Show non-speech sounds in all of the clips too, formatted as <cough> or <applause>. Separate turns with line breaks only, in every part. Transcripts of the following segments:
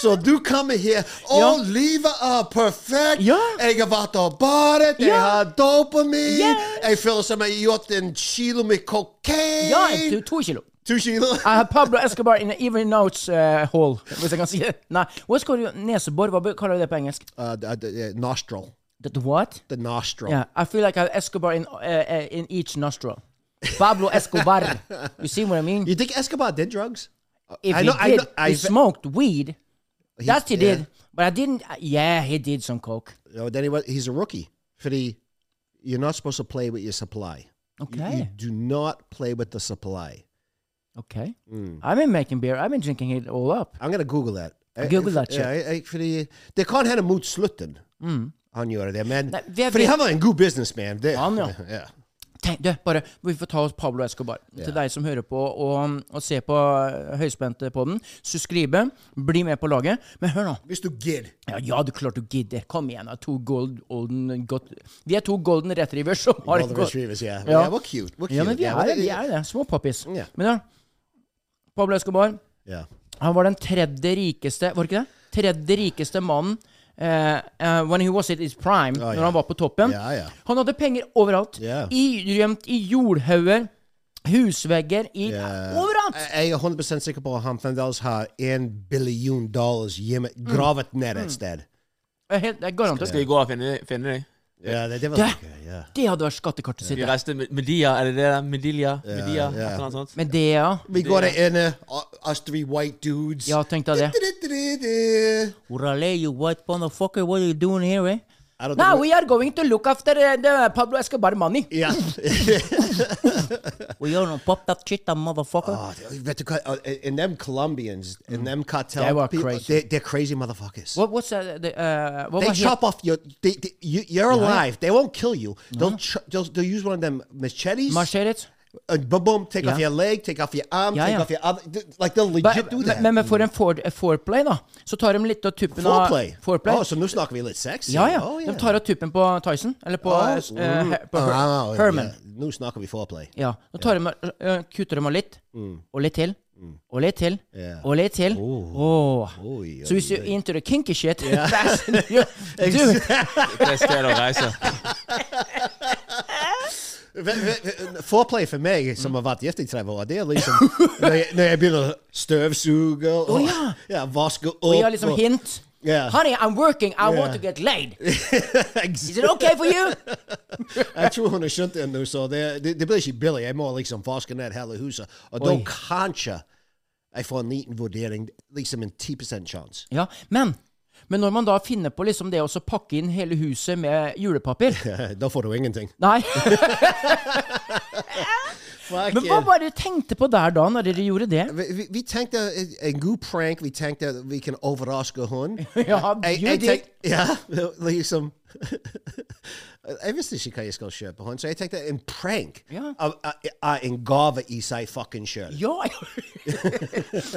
So do come
<laughs>
here. Oh,
Ja.
livet er perfekt.
Ja.
Jeg har vært og badet. Jeg
Ja.
har dopamin.
Ja.
Jeg føler som jeg har gjort en kilo med kokain.
Ja, du, to kilo.
to kilo.
I have Pablo Escobar in an even notes uh, hall, hvis jeg kan si det. Nei, hva skal du nesebor? Hva be- kaller du det på engelsk?
Uh, the, the, the nostril.
The, the what?
The nostril.
Yeah, I feel like I have Escobar in, uh, uh, in each nostril. Pablo Escobar. you see what I mean?
You think Escobar did drugs?
If
I
he
know- I
did,
know- I
he
ve-
smoked weed. That's he
yeah.
did. But I didn't. uh, Yeah, he did some coke.
No, then he was, he's a rookie. For the, you're not supposed to play with your supply. You-
Okay.
You, do not play with the supply.
Okay.
Hmm.
I've been making beer. I've been drinking it all up.
I'm gonna Google that. Eh,
Google
for-
that shit. Mm.
Ja, jeg- jeg- fordi det kan hende mot slutten han gjør det, men
Nei, vi er-
Fordi
vi-
han var en god businessman. Det,
Han, ja.
<laughs> ja.
Tenk, du, bare, vi får ta oss Pablo Escobar. Til deg som hører på og, og ser på uh, høyspente på den. Subscribe. Bli med på laget. Men hør nå.
Hvis du gidder.
Ja, ja du klart du gidder. Kom igjen. da. To gold, golden godt. Vi er to golden retrievers som har
Golden retrievers, ja.
Ja.
Ja, we're cute. We're cute.
Ja, men vi er
we're-
det. Vi er det. Småpappis.
Ja.
Men ja, Pablo Escobar,
Ja.
han var den tredje rikeste Var det ikke det? Tredje rikeste mannen eh, eh, when he was at his prime,
ja.
når han var på toppen.
Ja, ja.
Han hadde penger overalt.
Ja.
I, gjemt i jordhauger, husvegger, i
Ja.
Overalt!
Jeg- Jeg er 100 sikker på at han fremdeles har en billion dollars hjemme,
Mm.
gravet ned et sted.
Jeg er helt- jeg er garantert.
Skal jeg gå og finne, finne deg?
Ja, det, det var
Det-
sikkert, ja.
Det hadde vært skattekartet sitt.
Vi reiste med Media, er det det der? Media? Media? Et eller annet sånt?
Men det, ja.
Vi går der inne, uh, us three white dudes.
Ja, tenk deg det.
Du-du-du-du-du.
Orale, you white motherfucker, what are you doing here, eh?
I
Now
don't know.
we are going to look after eh, the Pablo Escobar money.
Ja.
We are gonna pop that shit, that motherfucker.
Oh, they- vet du hva? Oh, And them Colombians, and them cartel
Mm. They were
people,
crazy.
They, they're crazy motherfuckers.
What, what's uh, the, uh, what
they
var helt-
chop off your. They, they, you, you're alive. They won't kill you. They'll, ch- they'll they'll use one of them machetes.
Machetes?
Uh, boom, boom, take off
Yeah.
your leg, take off your arm,
Yeah,
take
yeah.
off your other. th- Like they'll legit
But,
do that.
men, men for en fore- foreplay, da, så tar de litt av tuppen av
foreplay.
Foreplay.
Oh, så nå snakker vi litt sex?
ja, ja.
Oh,
De tar av tuppen på Tyson. Eller på,
Oh,
eh, eh,
mm.
Her- på Her-
Ah, ja.
Herman.
Nå snakker vi foreplay.
Ja. Da tar de, eh, eh, kutter de av litt, og litt til, og litt til,
Mm. Yeah. Oh.
og litt til. Åh.
Oi,
Så hvis du er into the kinky shit <laughs> that's,
<laughs>
you, Dude!
Det er sted å reise.
Ve- ve- ve- Foreplay for meg, som har vært gift i 30 år, det er liksom <laughs> når jeg, når jeg begynner å støvsuge og
ja.
ja, vaske opp
Og gir liksom hint.
Ja.
Honey, I'm working. I want
Yeah.
to get laid.
<laughs> Ex-
Is it okay for you?
Jeg tror hun har skjønt det nå, så det, det, det blir ikke billig. Jeg må liksom vaske ned hele huset. Og da
Oi.
kanskje jeg får en liten vurdering, liksom en 10 sjanse.
<laughs>
<laughs>
Ja, men men når man da finner på liksom det å så pakke inn hele huset med julepapir <laughs>
Da får du ingenting.
Nei.
Fuck
Men hva
yeah.
var det dere tenkte på der da, når dere gjorde det?
vi, vi- vi tenkte en- en god prank. Vi tenkte at vi kan overraske hun.
<laughs> Ja,
Jeg,
you
jeg
did.
tenk, <laughs> ja, <laughs> liksom Jeg visste ikke hva jeg skulle kjøpe hun, så jeg tenkte en prank
Ja.
av, av, av en gave i seg fucking sjøl.
Ja!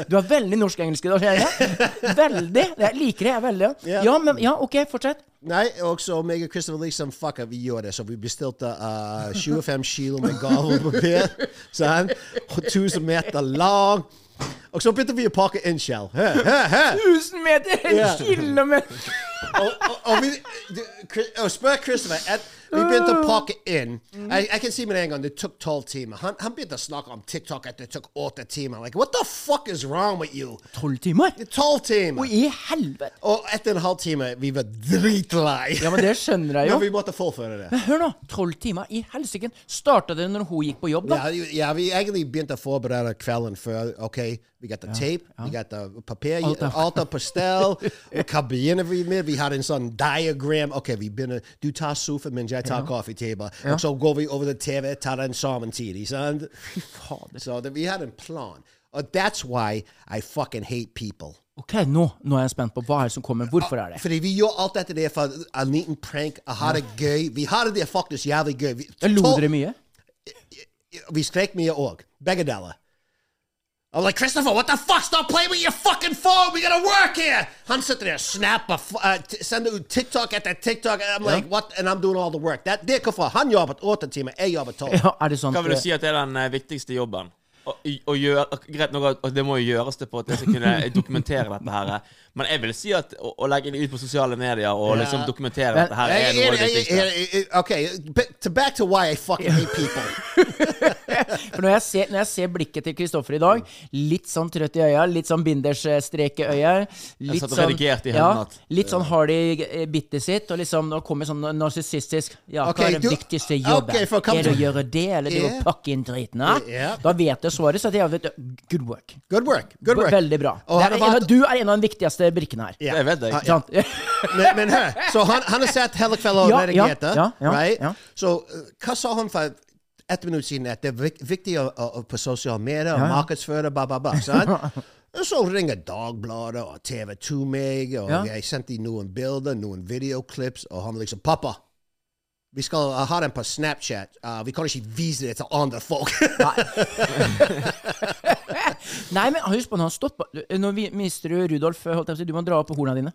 <laughs> Du er veldig norsk-engelsk i dag, kjenner jeg. Veldig. Jeg liker det, jeg veldig.
Ja.
Ja, men, ja, OK, fortsett.
Nei, og så meg og Christopher liksom Fuck, vi gjorde det. Så vi bestilte eh, 25 kilo med gavepapir. <laughs> Sånn. 1000 meter lang. Og så begynte vi å pakke inn skjell. Hør, hør, hør!
1000 meter! <laughs> En
Ja.
kilometer!
og, og, og, vi, du, oh, Chris- og spør Christopher at Vi begynte å pakke inn. Jeg, jeg kan si med en gang det tok tolv timer. Han, han begynte å snakke om TikTok at det tok åtte timer. Like, What the fuck is wrong with you?
Tolv timer?
Tolv timer!
I helvete!
Og etter en halv time, vi var dritlei. <laughs>
<laughs> Ja, men det skjønner jeg
Men
jo.
vi måtte fullføre det.
Men hør nå! Tolv timer i helsike! Starta det når hun gikk på jobb, da?
Ja, jo- ja, vi egentlig begynte å forberede kvelden før. OK, vi got the tape, vi got the papir,
Alt er-
alt er på stell. Hva begynner vi med? Vi hadde en sånn diagram. OK, vi begynner Du tar sofa, mens jeg tar kaffetable. Og så går vi over til TV, tar den sammen tidlig. Sant? Så det, vi hadde en plan. Og that's why I fucking hate people.
OK, nå, nå er jeg spent på hva er det som kommer. Hvorfor er det?
Fordi vi gjorde alt dette der for en liten prank, å ha det gøy. Vi hadde det faktisk jævlig gøy. Vi,
Lo
tolv-
dere mye?
Vi skrek mye òg. Begge deler. I'm like, Christopher, what the fuck? Stop playing with your fucking phone! We gotta work here! Han sitter der og snapper, f- uh, t- sender ut TikTok etter TikTok. I'm like, what? And I'm doing all the work. That, det er hvorfor. Han jobber åtte timer, jeg jobber tolv.
<laughs> Ja, er det sånn
Hva vil du si at er den eh, viktigste jobben? Å, å gjøre, greit nok at Det må jo gjøres det for at jeg skal kunne dokumentere dette her. eh. Men jeg vil si at å, å legge det ut på sosiale medier og liksom dokumentere
Men-
dette her
Jeg-
er noe
jeg-
av det
jeg-
viktigste.
jeg- jeg- eh, Okay, but to back to why I fucking hate
<laughs>
people.
For når jeg ser, når jeg ser blikket til Kristoffer i dag, litt sånn trøtt i øya, litt sånn bindersstrekeøya Litt
satt og
sånn,
redigerte i
ja,
hendene at-
litt sånn hardy eh, bittet sitt, og liksom nå kommer sånn narsissistisk Ja,
Ok,
hva er
du- Ah,
den viktigste jobben?
ok, for kom
er det å
til-
gjøre det, eller det
Ja.
å pakke inn driten? Ja?
Ja.
Da vet jeg svaret, så det er vet, good work.
Good work. Good work.
Veldig bra.
Og
Det
han
er
har
en,
vært-
av- du er en av de viktigste brikkene her.
Ja.
Det vet jeg.
Sant? <laughs>
men, men hør, så han, han har sett hele kvelden og
Ja, ja,
redigert det.
ja, ja,
right?
ja.
Så uh, hva sa han for ett minutt siden? At det er vik- viktig å, å, å på sosiale medier, og markedsføre, ba, ba, ba.
<laughs>
Sant? Og så ringer Dagbladet og TV 2 meg, og
Ja.
jeg sendte dem noen bilder, noen videoklips, og han liksom 'Pappa, vi skal uh, ha den på Snapchat. Uh, vi kan ikke vise det til andre <laughs> folk.'
Nei, men husk på, nå stoppa du- Nå vi- mister du Rudolf, holdt jeg på å si. Du må dra opp på horna dine.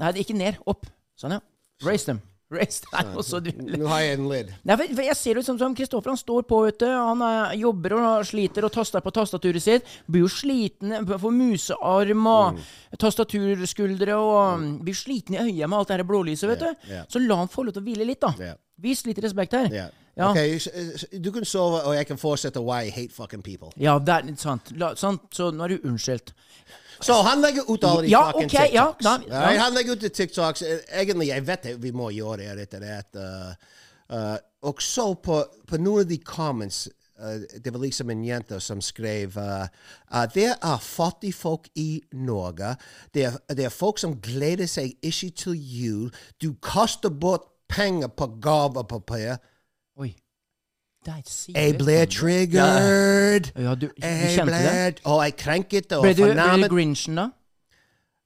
Nei, det er ikke ned. Opp. Sånn, ja. Raise them. Raise them. Og så du
Nå har jeg en lyd.
Nei, for, for jeg ser ut som, som Kristoffer. Han står på, vet du. Han eh, jobber og sliter og taster på tastaturet sitt. Blir jo sliten. eh, Får musearm og
Mm.
tastaturskuldre og mm, Blir sliten i øya med alt det her blålyset, vet du.
ja.
Så la han få lov til å hvile litt, da.
Ja.
Vis litt respekt her.
Ja.
Ja.
Ok, s- s- du kan sove, og jeg kan fortsette why I hate fucking people.
Ja, det er sant. La, sant. Så nå er du unnskyldt.
Så han legger ut alle de
Ja,
fucking
ok, ja,
TikToks.
da- ja.
Nei, han legger ut de TikToks. Eh, Egentlig, jeg vet det, vi må gjøre det rett og slett. Uh, uh, og så på, på noen av de comments, uh, det var liksom en jente som skrev uh, uh, Det er fattige folk i Norge. Det er, det er folk som gleder seg ikke til jul. Du kaster bort penger på gavepapir.
Oi. Der sier
Jeg ble triggered.
Ja, du, du
Jeg
kjente
ble
det?
Og jeg krenket og
Ble du, ble du
fornærmet.
Grinchen, da?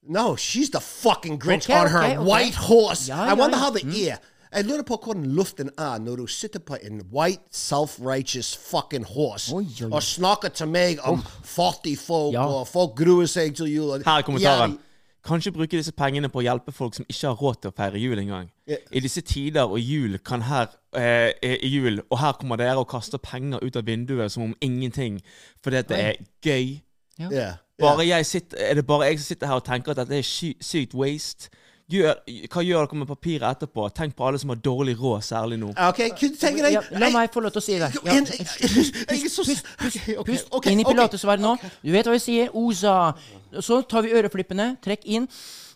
No, she's the fucking Grinch
Okay,
on her
okay, okay.
white horse.
Ja,
I
ja,
wonder
ja.
how the ear. Jeg lurer på hvordan luften er når du sitter på en white, self-righteous fucking horse
Oi, oi, oi.
og snakker til meg om fattige folk,
Ja.
og folk gruer seg til jul. og-
Her er kommentaren.
Ja,
Kanskje bruke disse pengene på å hjelpe folk som ikke har råd til å feire jul engang.
Ja.
I disse tider og jul kan her eh, i jul, og her kommer dere og kaster penger ut av vinduet som om ingenting, fordi at det er gøy.
ja, ja.
Bare jeg sitter, er det bare jeg som sitter her og tenker at dette er sy sykt waste? Gjør, hva gjør dere med papiret etterpå? Tenk på alle som har dårlig råd, særlig nå.
Ok, kunne du tenke deg
Ja, la meg få lov til å si det. Ja.
Jeg- jeg- jeg er så
Pust, pust,
<laughs> Ok, ok,
pust.
ok,
Inn i
ok.
pilatesverdenen nå. Du vet hva vi sier. Osa. Så tar vi øreflippene. Trekk inn.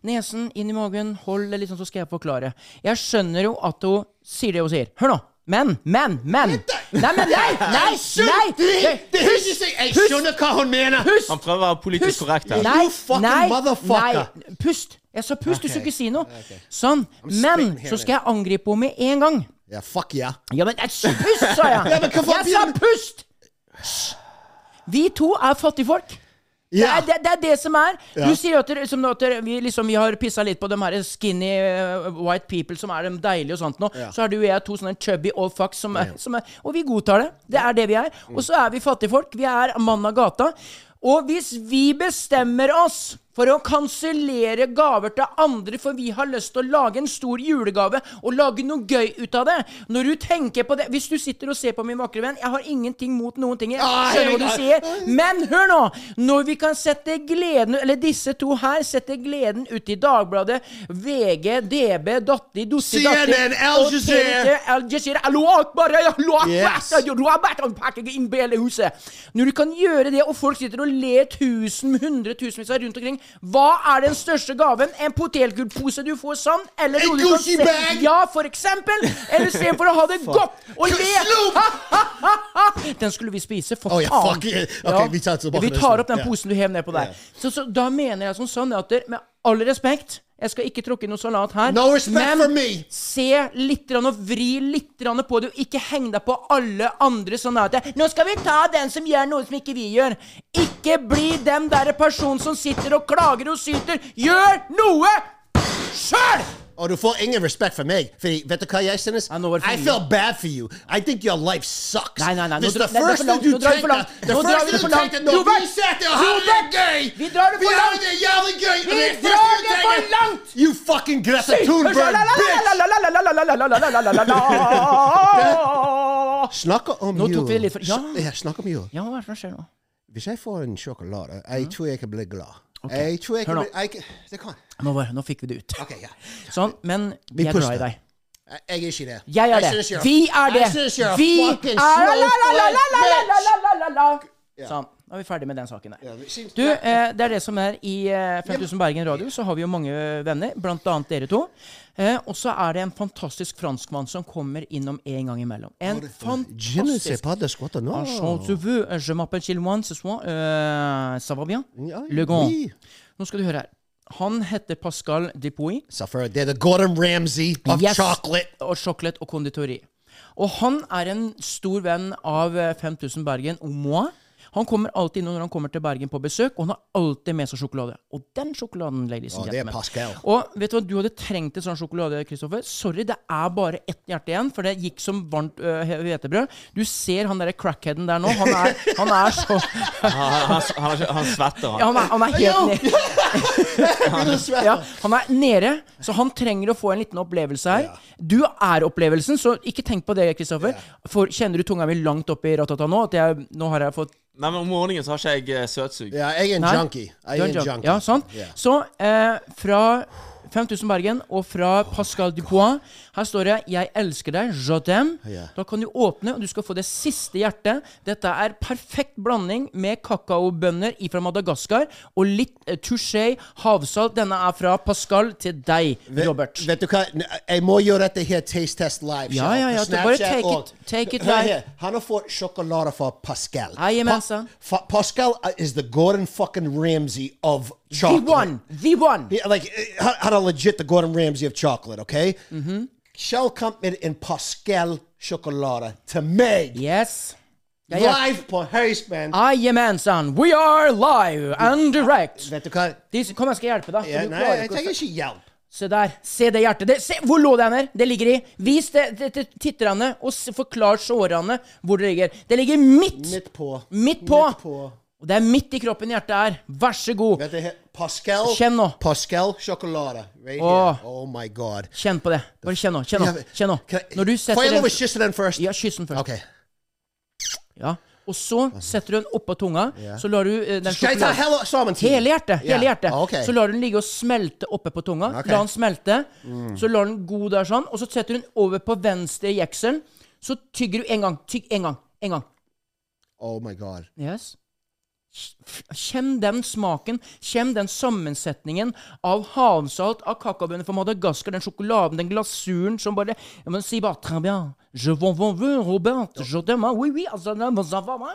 Nesen inn i magen. Hold det litt sånn, så skal jeg forklare. Jeg skjønner jo at hun sier det hun sier. Hør nå. Men, men, men. Nei, men nei! Nei! nei, nei.
Det- det høres ut som- Jeg skjønner hva hun mener!
Pust!
Han prøver å være politisk korrekt her.
Nei,
You fucking
nei,
motherfucker.
nei. Pust. Jeg sa pust, du skulle ikke si noe. Sånn. Men
spitting here,
så skal jeg angripe henne med en gang.
Ja, fuck yeah.
Ja, men æsj, pust, sa jeg!
Ja, men hva faen
jeg sa
begynner du-
pust! Hysj. Vi to er fattigfolk. Det
Ja.
er det, det er det som er.
Ja.
Du sier at, dere- som, nå at dere- vi, liksom, vi har pissa litt på de her skinny eh, white people som er de deilige og sånt nå. Så er du og jeg to sånne chubby old fucks som, er- som er Og vi godtar det. Det er det vi er. Og så er vi fattigfolk. Vi er mann av gata. Og hvis vi bestemmer oss for å kansellere gaver til andre, for vi har lyst til å lage en stor julegave og lage noe gøy ut av det Når du tenker på det Hvis du sitter og ser på min vakre venn Jeg har ingenting mot noen ting. Jeg
Ah,
skjønner hva du
jeg-
sier. Men hør nå! Når vi kan sette gleden Eller disse to her setter gleden ut i Dagbladet, VG, DB, Datti, Dotti, Datti
CNN, Al
og
Jazeera.
TNT, Al Jazeera Allahu Akbar, Allahu Akbar,
Yes.
Radio Akbar, og pakker inn belehuset. Når du kan gjøre det, og folk sitter og ler tusen, hundretusenvis av rundt omkring Hva er den største gaven? En potetgullpose du får sånn? Eller
En
noe du kan
Gucci
se-
bag?
Ja, for eksempel. Eller istedenfor å
<laughs>
ha det godt og le. <laughs>
Slutt!
Den skulle vi spise, for
Å, ja,
faen.
Oh, fuck it. Ok, vi tar tilbake
vi
det
tar
snart.
opp den
Ja.
posen du hev ned på der. Så, så da mener jeg som sånn at dere- med all respekt jeg skal ikke tråkke noe salat her,
No respect
men
for me.
se litt grann og vri litt grann på det, og ikke heng deg på alle andre sånn at det- Nå skal vi ta den som gjør noe som ikke vi gjør. Ikke bli den derre personen som sitter og klager og syter. Gjør noe sjøl!
Og du får ingen respekt for meg. Fordi, vet du hva jeg synes?
Ja, nå var det for
I
mye.
feel bad for you. I think your life sucks.
Nei, nei, nei, nå
Hvis
dra-
det
nei, nå er det for
første
langt,
du
nå drar vi for
tenkte
langt.
Det
Nå drar vi
første
for
du
langt.
tenkte når
Robert!
vi satt der og hadde
Robert!
det gøy
Vi drar det for langt.
hadde det jævlig gøy! og
Vi
det første
drar
du
det for
tenkte,
langt.
You fucking Greta Thunberg, bitch! Snakk om
Nå tok
jul.
vi litt for- ja.
snakk om jul.
Ja, hva er det som skjer nå?
Hvis jeg får en sjokolade, jeg tror jeg kan bli glad. Jeg tror jeg
Hør
kan
nå.
bli... Jeg, kan- det kan...
Nå, var, nå fikk vi det ut.
Ok, ja.
Sånn, men
Vi
vi er glad
pusher.
i deg.
Jeg jeg er ikke det.
Jeg er
Jeg synes
det.
you're-
Vi er det.
Jeg synes you're a
Vi
fucking
er la, la, la, la, la, la, la, la, la, la, la.
Ja.
Sånn. Nå er vi ferdig med den saken der.
men syns-
Du, eh, det er det som er i eh, 5000 Bergen Radio, så har vi jo mange venner, blant annet dere to. Eh, og så er det en fantastisk franskmann som kommer innom en gang imellom. En
Je ne sais
fantastisk
pas de squat, non.
Ah, Charles, tu veux, euh, je m'appelle Chilwan ce soir. Euh, ça va bien?
Ja,
Le grand.
oui.
Nå skal du høre her. Han heter Pascal Depoy.
Suffer. They're the Gordon Ramsay of
Yes.
chocolate.
<laughs> Og sjokolade og konditori. Og han er en stor venn av eh, 5000 Bergen og moi. Han kommer alltid innom når han kommer til Bergen på besøk, og han har alltid med seg sjokolade. Og den sjokoladen, ladies
Å,
and
det er
gentlemen.
Pascal.
Og vet du hva, du hadde trengt en sånn sjokolade, Kristoffer. Sorry, det er bare ett hjerte igjen, for det gikk som varmt øh, he- hvetebrød. Du ser han derre crackheaden der nå. Han er, han er så <laughs>
Han, han, han, han, han svetter,
ja,
han.
han, er, han er helt nede. Ah. <laughs> Ja, han er nede, så han trenger å få en liten opplevelse her. Du er opplevelsen, så ikke tenk på det, Kristoffer. For Kjenner du tunga mi langt opp i ratata nå? At jeg, nå har jeg fått
Nei, men Om morgenen så har ikke jeg eh, søtsug.
Ja, jeg er en
Nei,
junkie. Jeg
du er
er en junkie.
Ja, sant?
Ja.
Så eh, fra 5000 Bergen og fra Pascal Dupois Her står det 'Jeg elsker deg', je t'aime.
Ja.
Da kan du åpne, og du skal få det siste hjertet. Dette er perfekt blanding med kakaobønner fra Madagaskar og litt eh, touché havsalt. Denne er fra Pascal til deg,
Vet-
Robert.
Vet du hva? N- Jeg må gjøre dette her taste test live.
Ja,
show
ja, ja,
på
du
Snapchat
bare take
og-
it- take it
Hør
live.
her, Han har fått sjokolade fra Pascal.
Hei, Mensa.
fa- Pascal is the Gordon fucking Ramsay of
The
chocolate.
one! The one!
Yeah, like uh, how, how to legit the Gordon Ramsay of chocolate, okay? Mm-hmm. Shell Company and Pascal Chocolata to me.
Yes. Jeg er-
Live på Høyspenn.
Aye, man, son. We are live and direct.
Vet du hva?
De, kom, jeg skal hjelpe deg. for
Ja,
du
nei,
klarer
jeg
ikke å-
trenger ikke hjelp.
Se der. Se det hjertet. Det, se, hvor lå det hender? Det ligger i. Vis det, det, til titterne, og s- forklar sårene hvor det ligger. Det ligger midt.
Midt på.
Midt på.
Midt på.
Og det er midt i kroppen hjertet er. Vær så god.
Vet du, he- Pascal
Kjenn nå.
Pascal sjokolade. Right
Åh.
here. Oh my god.
Kjenn på det. Bare kjenn nå. Kjenn
Ja,
nå.
men-
Kjenn nå.
Kan jeg-
Når du
Får jeg
setter
lov å
den
kysse den først?
Ja, kyss den først.
Ok.
Ja. Og så setter du den oppå tunga, så lar du eh, den
Skal jeg ta
sjokoladen-
hele sammen? til?
Hele hjertet.
Ja, Ah,
hele hjertet
ok.
Så lar du den ligge og smelte oppe på tunga.
Ok. Mm.
La den smelte. Så lar den god der sånn, og så setter du den over på venstre jeksel. Så tygger du en gang. Tygg en gang. En gang.
Oh my god.
Yes. Kjenn den smaken, kjenn den sammensetningen av havsalt, av kakaobønner fra Madagaskar, den sjokoladen, den glasuren som bare Jeg må si bare Très bien. Je vous en veux, Robert. Je t'aime. Oui, oui. Altså, det er- ça va, va?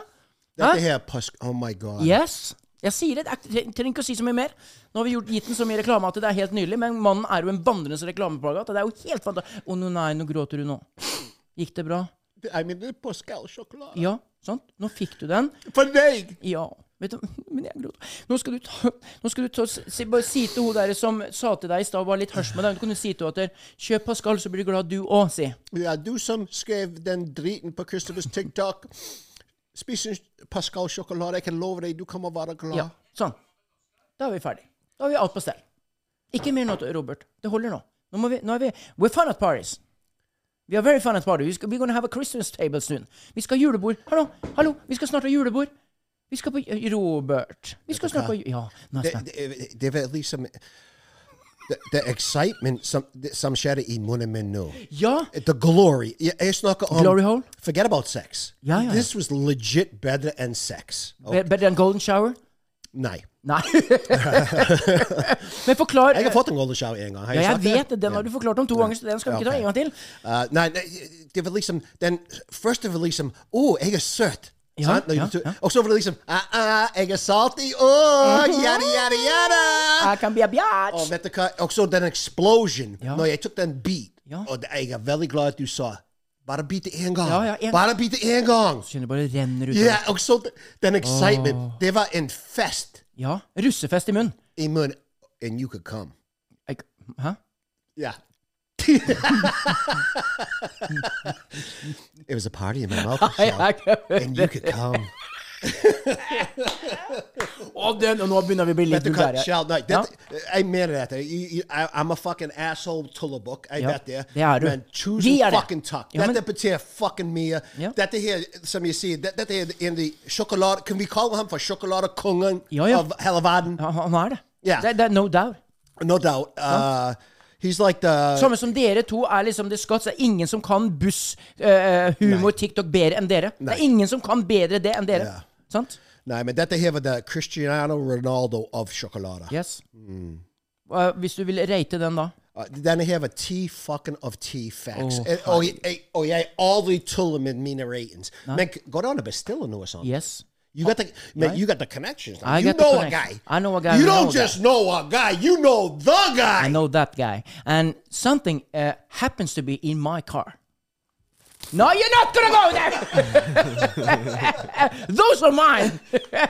Dette her Pas- Oh my god.
Yes. Jeg sier det. det. er ikke- Jeg trenger ikke å si så mye mer. Nå har vi gjort, gitt den så mye reklame at det er helt nydelig, men mannen er jo en vandrende reklameplagat. og Det er jo helt fantastisk. Å nå nei, nå gråter du nå. Gikk det bra?
I mean, det er Pascal sjokolade.
Ja, sant? Nå fikk du den.
For deg!
Ja. Vet du, <laughs> men jeg gråter. Nå skal du ta, nå skal du ta si, bare si til hun der som sa til deg i stad, var litt hørs med deg, du kan jo si til henne at kjøp Pascal, så blir du glad du òg, si.
Ja, du som skrev den driten på Christophers TikTok. Spis en Pascal sjokolade. Jeg kan love deg, du kommer være glad.
Ja, sånn. Da er vi ferdig. Da har vi alt på stell. Ikke mer nå, Robert. Det holder nå. Nå, må vi, nå er vi We're fun at parties. We are very fun at parties. We skal- We're gonna have a Christmas table soon. Vi skal ha julebord. Hallo, hallo, vi skal snart ha julebord. Vi skal på eh, Robert. Vi skal snart på Ja, nå er jeg
Det,
snart.
det, det var liksom det, det er excitement som, det, som skjer i munnen min nå.
Ja!
The glory. Jeg, jeg snakker om
Glory hole?
Forget about sex.
Ja, ja, ja.
This was legit bedre enn sex. Oh,
Be- Better than golden shower?
Nei.
Nei. <laughs> Men forklar
Jeg har fått en golden shower en gang. Har
Ja, jeg
sagt det?
vet det. Den har du forklart om to ganger, så den skal vi ikke ta
Ok.
en gang til.
Uh, nei, nei, det var liksom den første var liksom Å, jeg er søt.
Ja,
Sant? Når
ja,
du-
ja.
Og så var det liksom ah, ah, Jeg er salty òg! Yada, yada, Oh, yada!
I can be a biatch.
Og vet du hva? Og så den explosion
Ja.
når jeg tok den beat.
Ja.
Og det- jeg er veldig glad at du sa bare bite én gang.
Ja, ja, en-
Bare bite én gang!
Kjenner bare renner ut. av
Ja, og så den excitement. Det var en fest
det. Ja. Russefest i munnen.
i munnen. And you could come.
Jeg- Hæ?
Yeah. <laughs> it was a party in my mouth.
Ja, jeg-
and you could <laughs> come.
Å, den, og nå begynner vi å bli litt
Vet du hva,
vulgære.
Kjell, nei,
Ja.
dette- Jeg mener dette. You- you- I- I'm a fucking asshole tullebukk. Jeg
Ja,
vet det.
det er du.
Men
Vi
tusen
er det.
fucking takk.
Ja, men-
Dette betyr fucking uh, mye.
Ja.
Dette her, som jeg sier, det- dette er en av de sjokolade... Kan vi kalle ham for sjokoladekongen
Ja, ja.
av hele verden?
Ja, han er det.
Ja.
Det, det er no doubt.
No doubt. Uh, he's like the...
Samme som dere to er liksom the Scots. Det er ingen som kan buss, eh, humor, TikTok bedre enn dere. Det er ingen som kan bedre det enn dere.
Ja.
Sant?
Nei, men dette her var the Cristiano Ronaldo av sjokolade.
Yes.
Mm.
Hva- hvis du vil rate den, da?
Uh, Denne her var ti fucking of ti facts. Eh, og, jeg, og jeg aldri tuller med mine ratings. Men k- går det an å bestille noe sånt?
Yes.
You got the man, you got the connections.
I
you
got the
know a guy.
connection. I know a guy
You
who
don't
knows
just know a guy. You know the
I
guy.
know that guy. And something uh, happens to be in my car. No, you're not gonna go there! <laughs> Those are mine!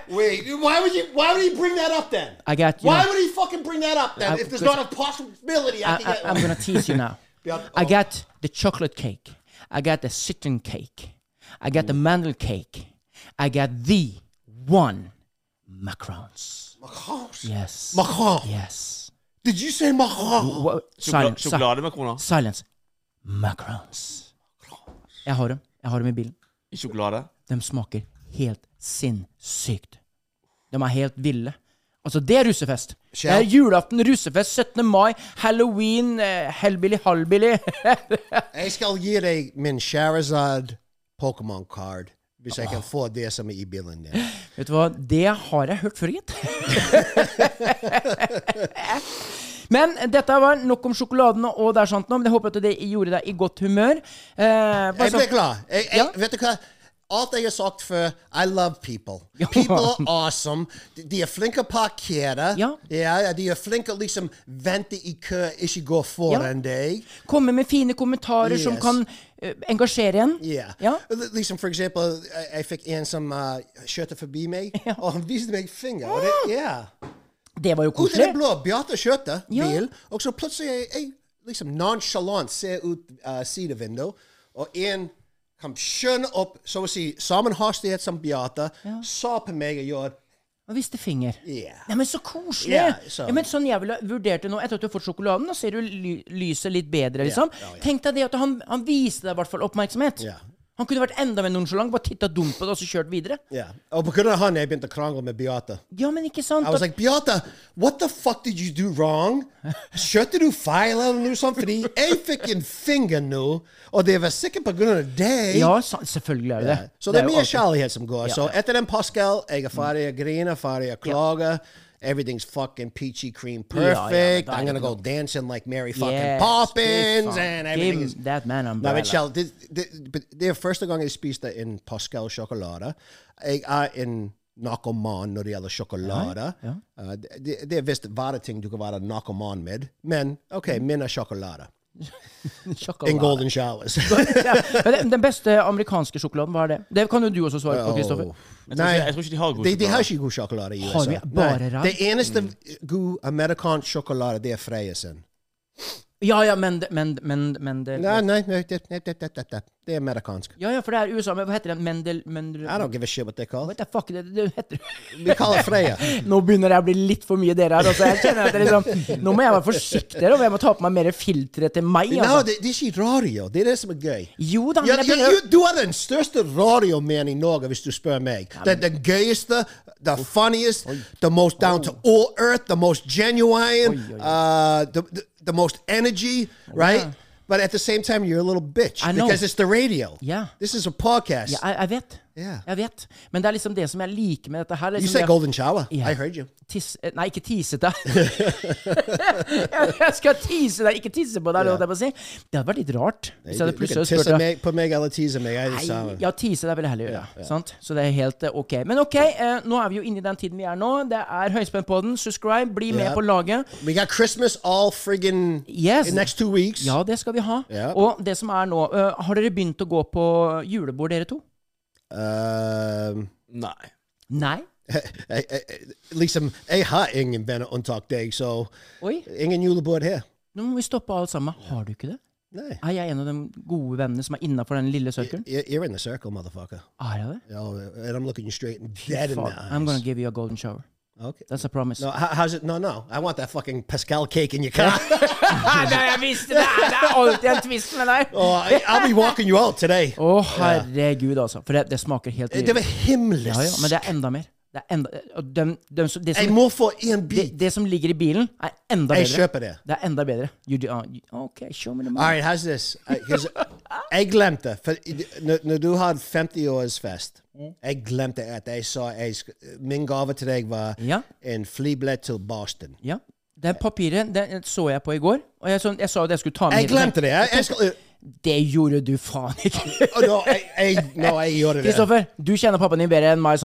Wait, why would you? Why would he bring that up then?
I got you.
Why
know,
would he fucking bring that up then?
I-
if there's
because-
not a possibility, I,
I, <laughs>
can
I,
get
I'm
one.
gonna tease you now.
Yeah,
I
oh.
got the chocolate cake. I got the citron cake. I got the mandel cake. I got the one macarons.
Macaws.
Yes.
Macaw.
Yes.
Did you say macaw?
Wha-
Sjokolade,
silence. si-
sjokolademakaroni.
Silence. Macarons. Jeg har dem. Jeg har dem i bilen.
I sjokolade.
De smaker helt sinnssykt. De er helt ville. Altså, det er russefest. Det er
Kjell?
julaften, russefest, 17. mai, halloween, eh, hellbilly, hallbilly. <laughs>
Jeg skal gi deg min Charizard Pokemon card hvis jeg kan få det som er i bilen din.
Vet du hva, det har jeg hørt før,
<laughs>
gitt. Men dette var nok om sjokoladene og det er sant nå, men jeg håper at det gjorde deg i godt humør. Eh, bare
Jeg ble
sånn-
glad. Jeg, jeg,
Ja.
Vet du hva? Alt jeg har sagt før, I love people.
<laughs>
People are awesome. De- De er flinke å parkere.
Ja.
ja, de er flinke å liksom vente i kø, ikke gå foran deg.
Komme med fine kommentarer som
Yes.
kan eh, engasjere en.
Yeah.
Ja.
L- Liksom for eh, eksempel, eh,
<laughs>
Oh, jeg, jeg fikk en som uh, kjørte forbi meg, og han viste meg finger. Og det, yeah.
Det var jo
Ut i
koselig.
det blå. Beate kjørte
Ja.
bil, og så plutselig er jeg, jeg liksom nonchalant ser ut uh, sidevinduet, og en kom skjønne opp, så å si, samme hastighet som Beate, sa på meg og gjorde
Og viste finger.
Yeah.
Nei, men så koselig!
Ja, så-
Ja, men sånn jeg ville vurdert det nå, etter at du har fått sjokoladen, da ser du ly lyset litt bedre, liksom.
Oh,
Tenk deg det at han, han viste deg i hvert fall oppmerksomhet.
Ja.
Han kunne vært enda mer nonchalant, bare titta dumt på det og så kjørt videre.
Ja. Og på grunn av han jeg begynte å krangle med Beate.
Ja, men ikke sant?
I was
at-
like, Beate, what the fuck did you do wrong? Kjørte du feil eller noe sånt? Fordi jeg fikk en finger nå, og det var sikkert på grunn av deg.
ja, sa- selvfølgelig er det det.
Så det er
jo
mye
alltid-
kjærlighet som går. Så etter den Pascal, jeg er ferdig å grine, ferdig å klage. Everything's fucking peachy cream
ja, men
perfect.
da er det
I'm gonna
ikke
go dancing like Mary fucking
Yes, fy
Poppins.
faen.
And
Give
everything is
that man
Nei, men
umbrella.
Kjell, det, det, but det er første gang jeg spiste en Pascal-sjokolade. Jeg er en narkoman når det gjelder sjokolade. Uh, det- det, det er visst bare ting du kan være narkoman med. Men OK,
Mm.
min er sjokolade.
Sjokolade.
En golden showers.
<laughs> ja, men det- den beste amerikanske sjokoladen, hva er det? Det kan jo du også svare på, Kristoffer.
Jeg tror, ikke, jeg tror ikke de har god
De, de har
sjokolade.
ikke god sjokolade i USA.
Har vi bare
Nei,
rar?
Det eneste god amerikansk sjokolade, det er Freia sin.
Ja, ja, men, det- men, men, men det,
Nei, nei, nei det, det, det, det, det, det er amerikansk.
Ja, ja, for det er USA, men hva heter den? Mendel... Mendel
I don't give a shit what they call
What
it.
the fuck, det, det heter
Vi
<laughs>
kaller det Freia.
Nå begynner jeg å bli litt for mye dere her. Altså. Jeg kjenner at det liksom, Nå må jeg være forsiktigere, og jeg må ta på meg mer filtre til meg.
No,
Altså.
det, det er ikke radio. Det er det som er gøy.
Jo da,
Ja,
men jeg
ja,
begynner,
du- du er den største radiomannen i Norge, hvis du spør meg. Den, den gøyeste, the funniest, the most down to all earth, the most genuine, uh, the, the, the most energy, right? But at the same time, you're a little bitch
I know.
because it's the radio.
Yeah.
This is a podcast.
ja, jeg, jeg vet.
Ja.
Jeg vet. Men det er liksom det som jeg liker med dette her.
You
Liksom
said
det-
golden shower.
Yeah.
I heard you.
Tisse, eh, nei, ikke tise deg. <laughs> jeg skal tise deg, ikke tisse på deg. eller hva jeg må si. er Det hadde vært litt rart. Hvis jeg hadde
You can
plutselig
tiss
spurt deg-
meg, på meg eller tise meg. Er det
Nei,
samme.
ja, tise det vil jeg heller gjøre. Sant? Så det er helt eh, ok. Men ok, eh, nå er vi jo inne i den tiden vi er nå. Det er Høyspentpodden. Subscribe, bli med
Ja.
på laget.
We got Christmas all friggin'
Yes.
in next two weeks.
Ja, det skal vi ha.
Ja.
Og det som er nå, eh, har dere begynt å gå på julebord, dere to?
Um,
Nei.
Nei?
jeg, jeg, liksom, jeg har ingen venner unntatt deg, så
Oi,
ingen julebord her.
nå må vi stoppe alt sammen. Har du ikke det?
Nei.
Er jeg en av de gode vennene som er innafor den lille søkkelen?
You're, you're in the circle, motherfucker.
Er jeg det?
Yo, and I'm looking you straight and dead in the
Fuck,
eyes.
I'm gonna give you a golden shower.
Okay.
That's a promise.
No, how, how's it? No, no. I want that fucking Pascal cake in your car. <laughs>
Nei, jeg visste Ah, det! Det er alltid en twist med deg! Å,
oh, I, I'll be walking you out today.
Oh, herregud, altså. For det, det smaker helt
Eh, Det var himmelsk.
Ja, ja, men det er enda mer. Det, er enda, eh, og dem- dem som- det,
Jeg
som,
må få en
det,
bit.
det som ligger i bilen, er enda
Jeg
bedre.
kjøper det.
Det er enda bedre. You do, ah, you- ok, show me the
All
money.
right, how's this? I- 'cause
<laughs>
jeg glemte for, når, når du hadde 50-årsfest
Mm.
Jeg glemte at jeg sa jeg, sk- Min gave til deg var
Ja.
en flybillett til Boston.
Ja. Det papiret det så jeg på i går, og jeg, så, jeg sa jo det jeg skulle ta med
Jeg
hit, og tenkte,
glemte det. Jeg,
<laughs>
jeg, skal,
Det gjorde du faen
<laughs>
ikke.
Å, nå, jeg, jeg, nå, jeg gjorde det.
Kristoffer, du kjenner pappaen din bedre enn meg. så-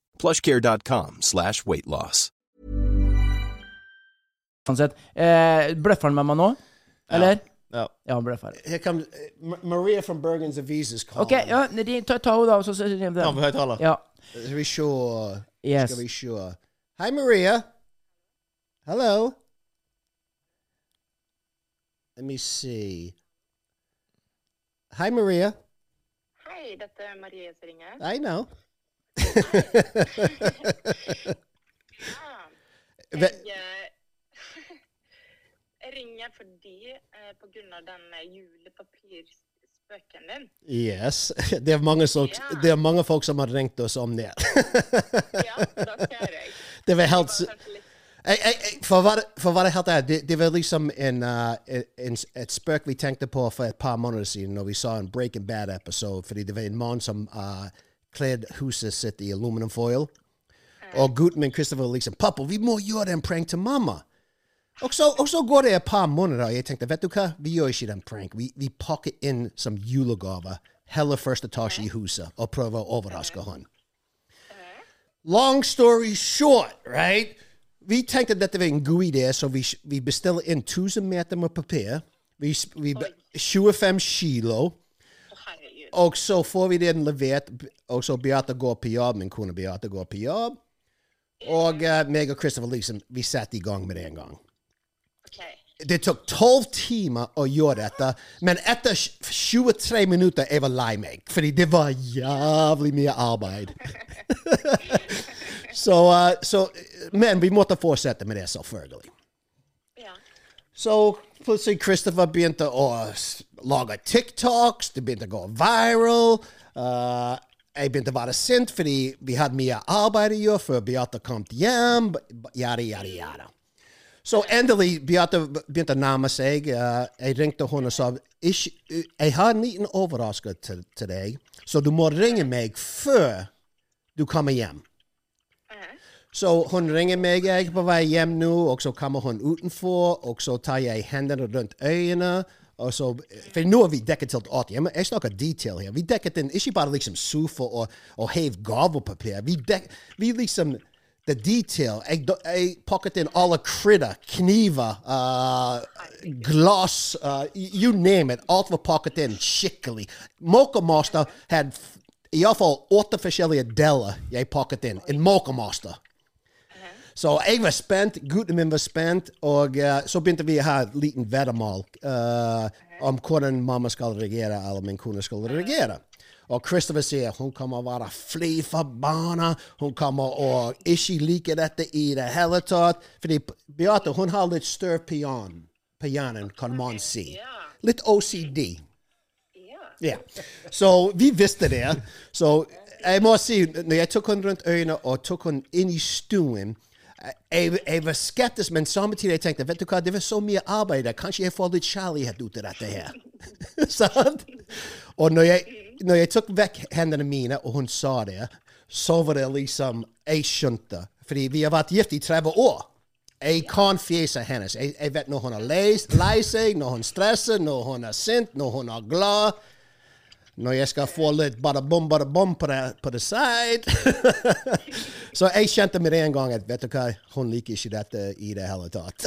plushcare.com slash weight loss.
Uansett. sånn Eh, bløffer han med meg nå? Eller?
Ja.
Ja, han bløffer.
Here comes eh, Ma- Maria from Bergen's Avises calling.
Ok, ja, de- ta, ta henne da, og så så-
Ja, på høyttaler.
Ja.
Are we sure?
Yes.
Are we sure? Hi, Maria. Hello. Let me see. Hi, Maria.
Hei, dette er Marie som ringer.
I know.
Ja,
Ve- <laughs>
jeg fordi eh, på grunn av den eh, julepapirspøken din.
Yes. <laughs> Det er, mange som,
Ja.
det er mange folk som har ringt oss om det. <laughs>
Ja, da ser jeg.
Det var
var
helt s-
kanskje litt
jeg, jeg, jeg, For å være- for å være helt ærlig, det, det var liksom en, uh, en, et spøk vi tenkte på for et par måneder siden når vi så en Breaking Bad-episode, fordi det var en mann som uh, kledde huset sitt i aluminum foil. Og gutten min Christopher liksom 'Pappa, vi må gjøre en prank til mamma'. Og så, og så går det et par måneder, og jeg tenkte vet du hva, vi gjør ikke den prank. Vi, vi pakker inn som julegave hele første etasje i huset og prøver å overraske han. Long story short, right? Vi tenkte dette var en god idé, så vi, vi bestiller inn 1000 meter med papir. Vi, s- vi, be- 25 kilo.
Å, herregud.
Og så får vi den levert, og så Beate går på jobb, min kone Beate går på jobb. Og eh, meg og Christopher liksom, vi satte i gang med det en gang.
OK.
Det tok 12 timer å gjøre dette, men etter tj- 23 minutter jeg var lei meg, fordi det var jævlig mye arbeid. så, eh, så, men vi måtte fortsette med det, selvfølgelig.
Ja.
Så plutselig Christopher begynte å s- lage TikToks, det begynte å gå viral. Uh, jeg begynte å være sint fordi vi hadde mye arbeid å gjøre før Beate kom hjem. Yada, yada, yada. Så endelig Beate begynte å nærme seg. Uh, jeg ringte henne og sa "Ikke- jeg har en liten overraskelse til, til deg, så du må ringe meg før du kommer hjem. Så hun ringer meg, jeg er på vei hjem nå, og så kommer hun utenfor, og så tar jeg hendene rundt øynene, og så, for nå er vi dekket til alt hjemme, jeg snakker detail her, vi dekket den, ikke bare liksom sofa og, og hev gavepapir, vi dekket, vi liksom, the detail, jeg, do- jeg pakket inn alle krydder, kniver, uh, glass, uh, you name it, alt var pakket inn skikkelig. Mocha Master had f- i alle fall åtte forskjellige deler jeg pakket inn, en Mocha Master. Så jeg var spent, gutten min var spent, og eh, så begynte vi å ha et liten veddemål eh, om hvordan mamma skal reagere, eller min kone skal reagere. Og Christopher sier hun kommer å være fly forbanna, hun kommer å ikke like dette i det hele tatt. Fordi Beate hun har litt større pian, pianen, kan man si. Litt OCD. Ja. Så vi visste det. Så jeg må si, når jeg tok henne rundt øynene og tok henne inn i stuen jeg, jeg var skeptisk, men samtidig jeg tenkte vet du hva, det var så mye arbeid der. Kanskje jeg får litt kjærlighet ut av dette her. <laughs> Sant? Og når jeg, når jeg tok vekk hendene mine, og hun sa det, så var det liksom Jeg skjønte. Fordi vi har vært gift i 30 år. Jeg kan fjeset hennes. Jeg, jeg vet når hun er lei lei seg, når hun stresser, når hun er sint, når hun er glad. Når jeg skal få litt bada bom, bada bom på det, på det side. Så jeg kjente med det en gang at vet du hva, hun liker ikke dette i det hele tatt.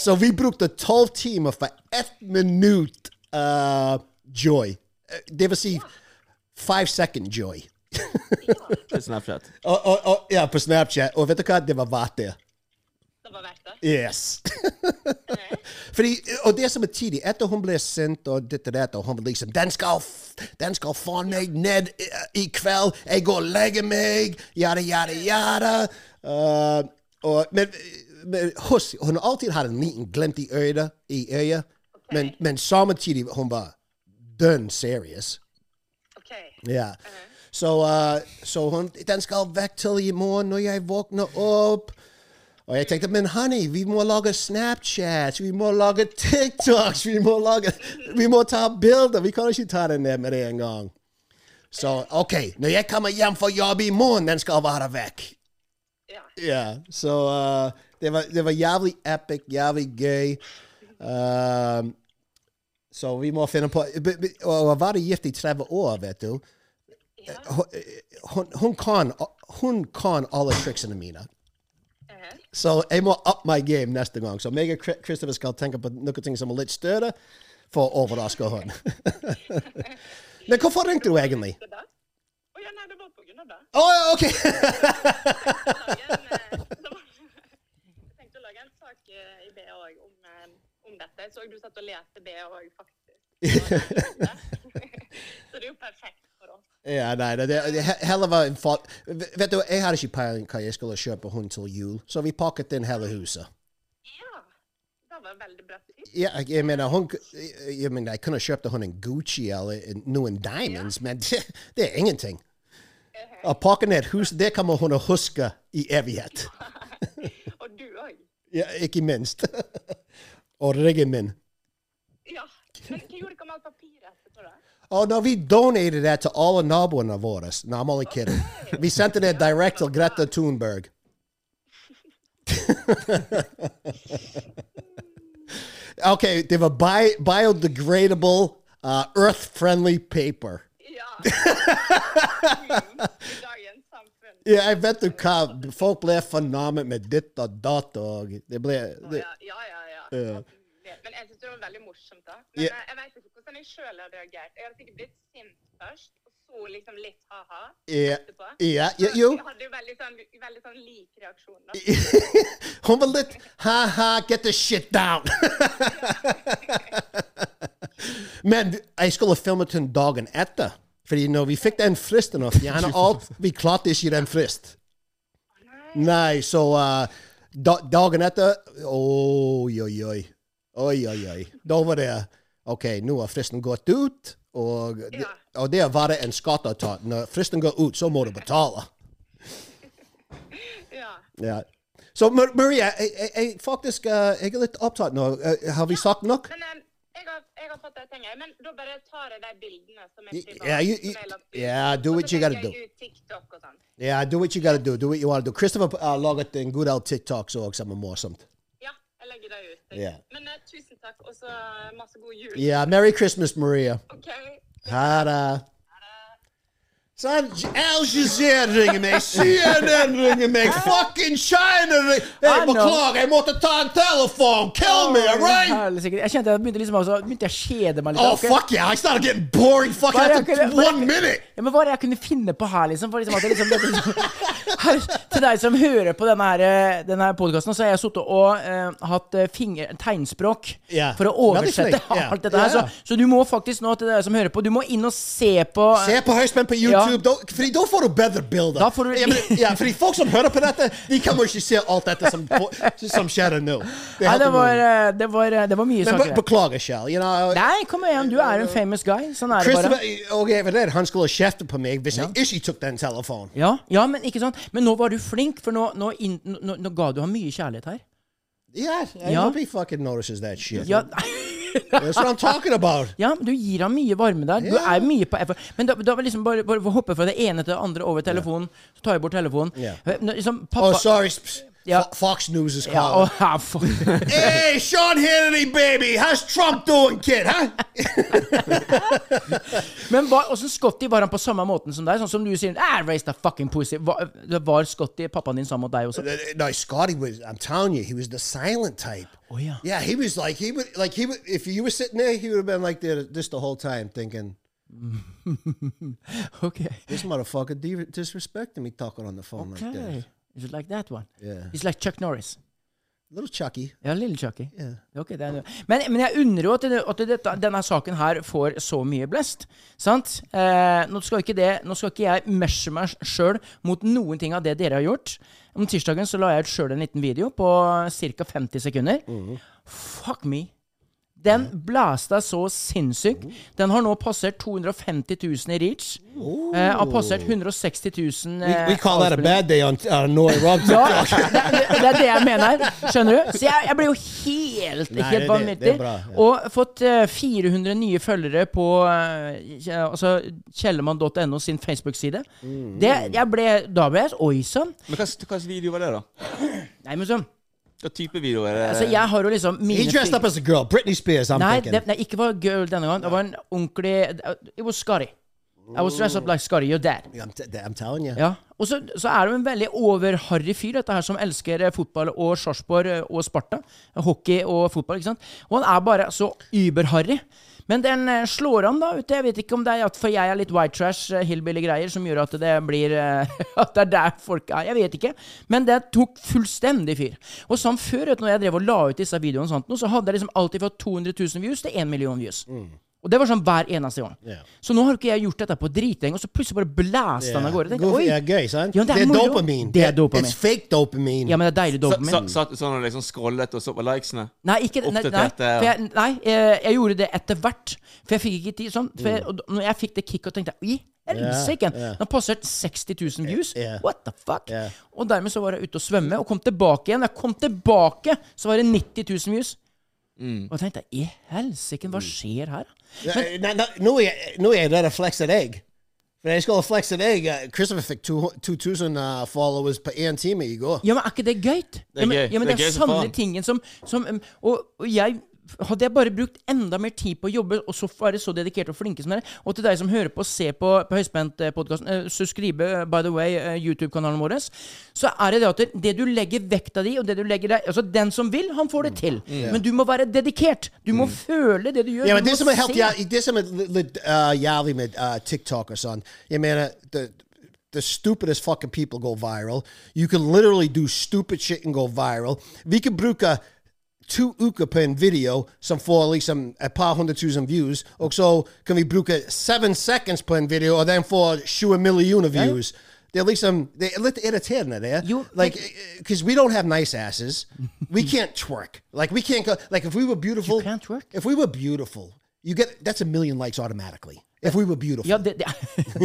Så vi brukte tolv timer for ett minutt eh, joy. Eh, Det vil si five second joy.
Til Snapchat.
Og, og, og, ja, på Snapchat. Og vet du hva, det var verdt det.
Det var verdt det. <laughs>
Yes. Fordi, og det som er tidlig, etter hun ble sint og ditt og datt, og hun var liksom Den skal, f- den skal faen meg ned i, i kveld! Jeg går og legger meg! Yada, yada, yada. Uh, og, men, men husk, hun har alltid hatt en liten glimt i øyet, i øyet men, men samtidig hun var dønn serious.
OK.
Ja. Så, eh, så hun, den skal vekk til i morgen når jeg våkner opp. Og jeg tenkte, men honey, vi må lage Snapchats, vi må lage TikToks, vi må, lage, vi må ta bilder. Vi kan ikke ta den ned med det en gang. Så OK, når jeg kommer hjem fra jobb i morgen, den skal være vekk.
Ja.
Ja, så eh, det, var, det var jævlig epic, jævlig gøy. Ehm, så vi må finne på b- b- Og å være gift i 30 år, vet du hun, hun- hun, kan, hun kan alle triksene mine. Så jeg må up my game neste gang. Så meg og Chri- Christopher skal tenke på noen ting som er litt større, for å overraske hun. Men hvorfor ringte du egentlig?
Det da? Å ja, nei, det var på grunn av det.
Å, ja, <laughs> OK!
<laughs> Jeg tenkte å lage en sak eh, i BA òg om, eh, om dette. Jeg så du satt og leste BA òg, faktisk.
<laughs>
Så det er jo perfekt for oss.
Ja, nei, det, det, det he- heller var en fart. Vet du, jeg hadde ikke peiling hva jeg skulle kjøpe hund til jul, så vi pakket inn hele huset.
Ja, det her var veldig bra pris.
Ja, jeg- jeg mener, hun, k- jeg jeg mener, jeg kunne kjøpt hun en Gucci eller en- noen diamonds, men <laughs> det, det er ingenting.
Eh,
Å pakke ned hus, det kommer hun å huske i evighet.
<laughs> Og du òg.
Ja, ikke minst. <laughs> Og riggen min.
Ja. Men hva gjorde dere med alt papiret etterpå, da?
Oh, no, vi donated that to all naboene våre. No, I'm only kidding. Vi sendte det direct til Greta Thunberg. <laughs> okay, they were bi- biodegradable, uh, earth-friendly paper.
Ja. Mm. I dagens samfunn.
Ja, jeg vet du hva. Folk ble fornærmet med ditt og datt og det ble
Oh,
Å,
det,
Ja, ja, ja. ja.
Ja.
Det- Men jeg synes det var veldig morsomt, da. Men
Ja.
eh, jeg vet ikke hvordan jeg sjøl hadde reagert. Jeg hadde sikkert blitt sint først, og så liksom litt ha-ha
Ja,
etterpå.
ja, ja,
Så
jo.
Jeg hadde jo veldig sånn, veldig sånn lik reaksjon, da.
Hun var litt ha-ha, get the shit down. Men jeg skulle filmet den dagen etter. Fordi når vi fikk den fristen å fjerne alt, vi klarte ikke den frist. Nei, så eh, da, dagen etter Oi, oi, oi. Oi, oi, oi. Da var det OK, nå har er fristen gått ut, og, og det er bare en skatteavtale. Når fristen går ut, så må du betale.
Ja.
Ja. Så Mar- Maria, jeg, jeg, jeg faktisk eh, jeg er litt opptatt nå. Eh, Har vi sagt nok?
Men eh, jeg har, jeg har fått det jeg trenger. Men da bare tar jeg de bildene som er
Y-
privat.
yeah, you-
som er lagt ut.
yeah, do what you gotta
Og så
do.
legger jeg ut TikTok og sånn.
Yeah, do what you gotta do. Do what you wanna do. Christopher uh, har laget en god del TikToks òg, som er morsomt.
Ja, jeg legger det ut.
Yeah.
Men eh, tusen takk, og så masse god jul.
Yeah, Merry Christmas, Maria.
OK?
Ha det. Sånn, Al Jazeera ringer meg, CNN ringer meg, fucking China ringer hey,
I know. Oh,
Beklager, jeg måtte ta en telefon! Kill me, all right?
Helsike. Jeg kjente jeg begynte liksom altså, begynte jeg å kjede meg litt.
Oh,
ok?
fuck yeah, I started getting boring fucking
Bare
after
akkurat- bare-
one minute!
Ja, men hva er det jeg kunne finne på her, liksom? For liksom at det liksom, det, liksom her, til deg som hører på denne, her, eh, denne her podkasten, så har jeg sittet og eh, hatt eh, finger, tegnspråk
Ja.
for å
Veldig
oversette
flink, ja.
alt dette her.
Ja.
Så, så du må faktisk nå, til deg som hører på, du må inn og se på eh,
Se på høyspent på YouTube,
Ja.
da, fordi da får du bedre bilder.
Da får du-
ja, men, ja, fordi folk som hører på dette, de kan jo ikke se alt dette som, som skjer nå. Det er
Nei,
helt
det var,
umulig.
eh, det var, Ah, eh, det var mye
Men be
saker. der.
beklager, Kjell. You know, eh,
Nei, kom igjen, du er en famous guy. Sånn er det
Christopher,
bare.
ok, for det, Han skulle kjefte på meg hvis jeg ikke tok den telefonen.
Ja, ja, men ikke sant. Men nå var du flink, for nå, nå, inn- nå, nå ga du ham mye kjærlighet her.
Yeah, I
Ja.
hope he fucking notices that shit.
Ja, <laughs>
That's what I'm talking about.
Ja, du gir ham mye varme der. Du
Ja.
er mye på effort. Men da, da var liksom bare, bare hoppe fra det ene til det andre over telefonen. Så tar jeg bort telefonen.
Ja.
Eh, nå, Liksom, pappa
Oh, sorry. sp-
Ja.
Fo- Fox News is
Ja, Oh.
calling.
å, ja, fuck.
<laughs> hey, Sean Hannity, baby! How's Trump doing,
<laughs>
kid, huh?
<laughs> Men var, hvordan Scotty var han på samme måten som deg? Sånn som du sier ah, raise the fucking pussy. Var, var Scotty pappaen din sammen mot deg også?
Eh, No, Scotty was. I'm telling you, he was the silent type.
Oh, yeah.
Yeah, he was like he would like he would. If you were sitting there, he would have been like there this the whole time, thinking
<laughs> Ok.
this motherfucker de- disrespecting me talking on the phone like
okay.
this.
Is it like that one?
Yeah.
It's like Chuck Norris.
Little Chucky.
Ja, lille Chucky.
Yeah.
Ok, det er noe. men, men jeg unner jo at, det, at dette, denne saken her får så mye blest. Sant? Eh, nå, skal ikke det, nå skal ikke jeg meshe meg sjøl mot noen ting av det dere har gjort. Om tirsdagen så la jeg ut sjøl en liten video på ca. 50 sekunder. Fuck me! Den blasta så sinnssykt. Den har nå passert 250 000 i reach. Eh, har passert 160 000 eh, avspillinger.
day on uh, Noi Rob
Ja, det, det, det er det jeg mener. Skjønner du? Så jeg, jeg ble jo helt,
Nei, det-
helt vanvittig.
det er bra, ja.
Og fått eh, 400 nye følgere på eh, kje- altså, kjellermann.no sin Facebook-side.
Mm.
Det, jeg ble, da ble jeg Oi sann.
Men hva slags video var det, da?
Nei, men sånn.
Hva type video er det?
Altså,
Eh,
jeg har jo liksom mine
He dressed up as a girl, Britney Spears. I'm
Nei,
thinking.
det, nei, ikke var girl denne gangen. Det var en ordentlig It was Scotty. I was dressed up like Scotty, your dad.
I'm, t- I'm telling you.
Ja, og så, så er det jo en veldig overharry fyr, dette her som elsker eh, fotball og Sarpsborg eh, og Sparta. Hockey og fotball, ikke sant. Og han er bare så überharry. Men den eh, slår han da ute. Jeg vet ikke om det er at for jeg er litt white trash, eh, hillbilly-greier, som gjør at det blir eh, <laughs> At det er der folk er. Jeg vet ikke. Men det tok fullstendig fyr. Og sånn før, vet du, når jeg drev og la ut disse videoene, og sånt, nå, så hadde jeg liksom alltid fått 200 000 views til 1 million views. Og det var sånn hver eneste gang.
Mm. Ja.
Så nå har ikke jeg gjort dette på dritlenge, og så plutselig bare blæste han av gårde. Tenkte,
God-
Oi,
ja, gøy, sant?
Ja, det er moro.
dopamin.
Det er dopamin.
It's fake dopamin.
ja, men det er deilig
Sa-
dopamin.
sa- Satt du sånn og liksom scrollet og så på likesene?
Nei, ikke, nei, nei,
Oppdaterte-
for jeg, nei eh, jeg gjorde det etter hvert. For jeg fikk ikke tid sånn. For jeg, og da- når jeg fikk det kicket, tenkte jeg I helsike!
Mm. Ja, ja.
Den har passert 60 000 views.
Ja.
What the fuck?
Ja.
Og dermed så var jeg ute og svømme, og kom tilbake igjen. Jeg kom tilbake, så var det 90 000 views.
Mm.
Og jeg tenkte I helsike, hva skjer her?
Nei, nei, nei, Nå er jeg- nå er jeg redd å flexe deg. For jeg skulle flexe deg. eh, Christopher fikk 2000 uh, followers på én time i går.
Ja, men er ikke det gøy?
er
ja, men,
gøy.
Ja, men
Det
det er,
er gøy som
samme
faen.
tingen som, som um, og, og jeg hadde jeg bare brukt enda mer tid på å jobbe, og så være så dedikert og flinke som dere, og til deg som hører på og ser på, på Høyspentpodkasten, uh, subscribe, eh, by the way, eh, YouTube-kanalen vår, så er det det at det du legger vekta di, og det du legger deg Altså, den som vil, han får det til. Men du må være dedikert. Du må føle det du gjør.
Ja, men
du
det
må
som er helt
se.
jæv- det som er litt- litt eh, jævlig med eh, TikTok og sånn Jeg mener uh, the, the stupidest fucking people go viral. You can literally do stupid shit and go viral. Vi kan bruke to uker på en video som får liksom et par hundre tusen views, og så kan vi bruke seven seconds på en video, og den får 20 millioner views. Det er liksom Det er litt irriterende, det.
Jo,
like, because we don't have nice asses. We can't twerk. Like, we can't go. Like, if we were beautiful,
can't twerk?
if we were beautiful, you get that's a million likes automatically. If we were beautiful.
Ja, det, det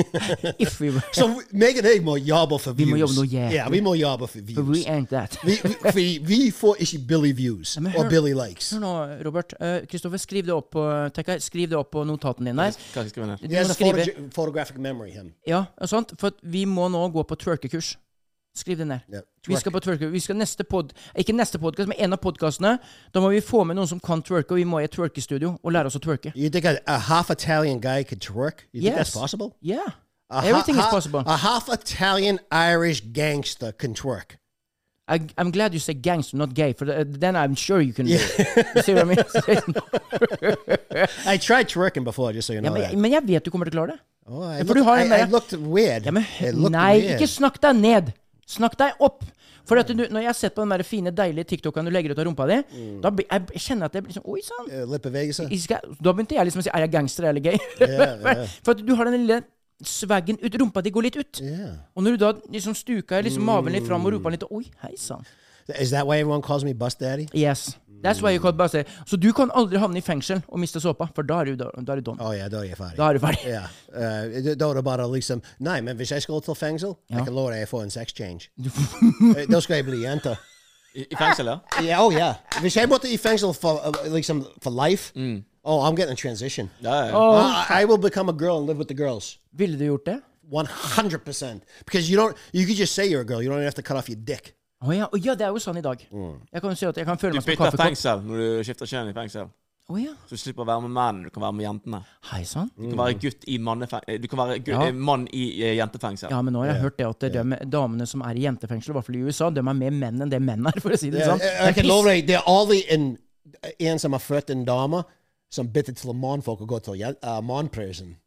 <laughs> If we were
So Megan A more yabba for
Vi
views.
må jobbe noe jævlig.
Yeah, we more yabba for views.
We ain't that.
we, we, we, we for issue Billy views
men
or
her-
Billy likes.
Hør nå, Robert. Eh, Kristoffer, skriv det opp på tenk her, Skriv det opp på notaten din der.
Hva skal jeg skrive ned?
Du
He has
må
a
skrive-
photoge- photographic memory. Him.
Ja, og sant? for at vi må nå gå på twerkekurs. Skriv det ned.
Ja,
vi skal på twerke, vi skal neste pod, Ikke neste podkast, men en av podkastene. Da må vi få med noen som kan twerke, og vi må i et twerkestudio og lære oss å twerke.
You think a, a half Italian guy could twerk? You think that's
Yes.
possible?
Yeah.
A ha-
Everything is
ha-
possible.
A half Italian Irish gangster can twerk.
I, I'm glad you say gangster, not gay, for the, then I'm sure you can do it. You see what I
<laughs>
mean?
I tried twerking before, just so you
<laughs> ja,
know that.
men, men jeg vet du kommer til å klare det.
Oh, I,
for
looked,
du har den
I, I
der-
looked weird.
Ja, men,
I looked
nei,
weird.
ikke snakk deg ned. Snakk deg opp. For at du, når jeg har sett på den der fine, deilige TikToken du legger ut av rumpa di,
Mm.
da blir- jeg kjenner jeg at jeg blir sånn Oi sann!
Eh, Lippevegelser?
Jeg skal- Da begynte jeg liksom å si Er jeg gangster eller gay? <laughs> For at du har den lille swaggen ut. Rumpa di går litt ut.
Yeah.
Og når du da liksom stuker liksom maven litt fram og roper litt Oi, hei sann.
Is that why everyone calls me Bus Daddy?
Yes. That's why you call buzzer. Så du kan aldri havne i fengsel og miste såpa, for da er du, da, da er du dum.
Oh yeah, da er jeg ferdig.
Da er du ferdig.
Ja. eh, da- da er det bare liksom Nei, men hvis jeg skal til fengsel,
Ja.
jeg kan love deg jeg får en sex change. Eh, da skal jeg bli jente.
I, I fengsel, ja?
Ja, oh, ja. Hvis jeg måtte i fengsel for, eh, liksom, for life Oh, I'm getting a transition.
ja, ja.
Uh, I will become a girl and live with the girls.
Ville du gjort det?
100%. Because you don't, you could just say you're a girl. You don't even have to cut off your dick.
Å ja, å ja, det er jo sånn i dag.
Mm.
Jeg kan jo si at jeg kan føle
Du
meg som en
bytter
kaffekopp.
fengsel når du skifter kjønn i fengsel.
Å ja.
Så du slipper å være med mennene, du kan være med jentene.
Hei sånn? sann.
Mm.
Du kan være gutt i mannefengsel Du kan være gu-
Mm. Ja.
eh, mann i eh, jentefengsel.
Ja, men nå har jeg hørt det at de damene som er i jentefengsel, i hvert fall i USA, de er mer menn enn det menn er, for å si det sånn.
Jeg, jeg
Det er
kan love
piss.
deg, det er aldri en, en som har født en dame, som bytter til mannfolk og går til jen- eh, mannprisen.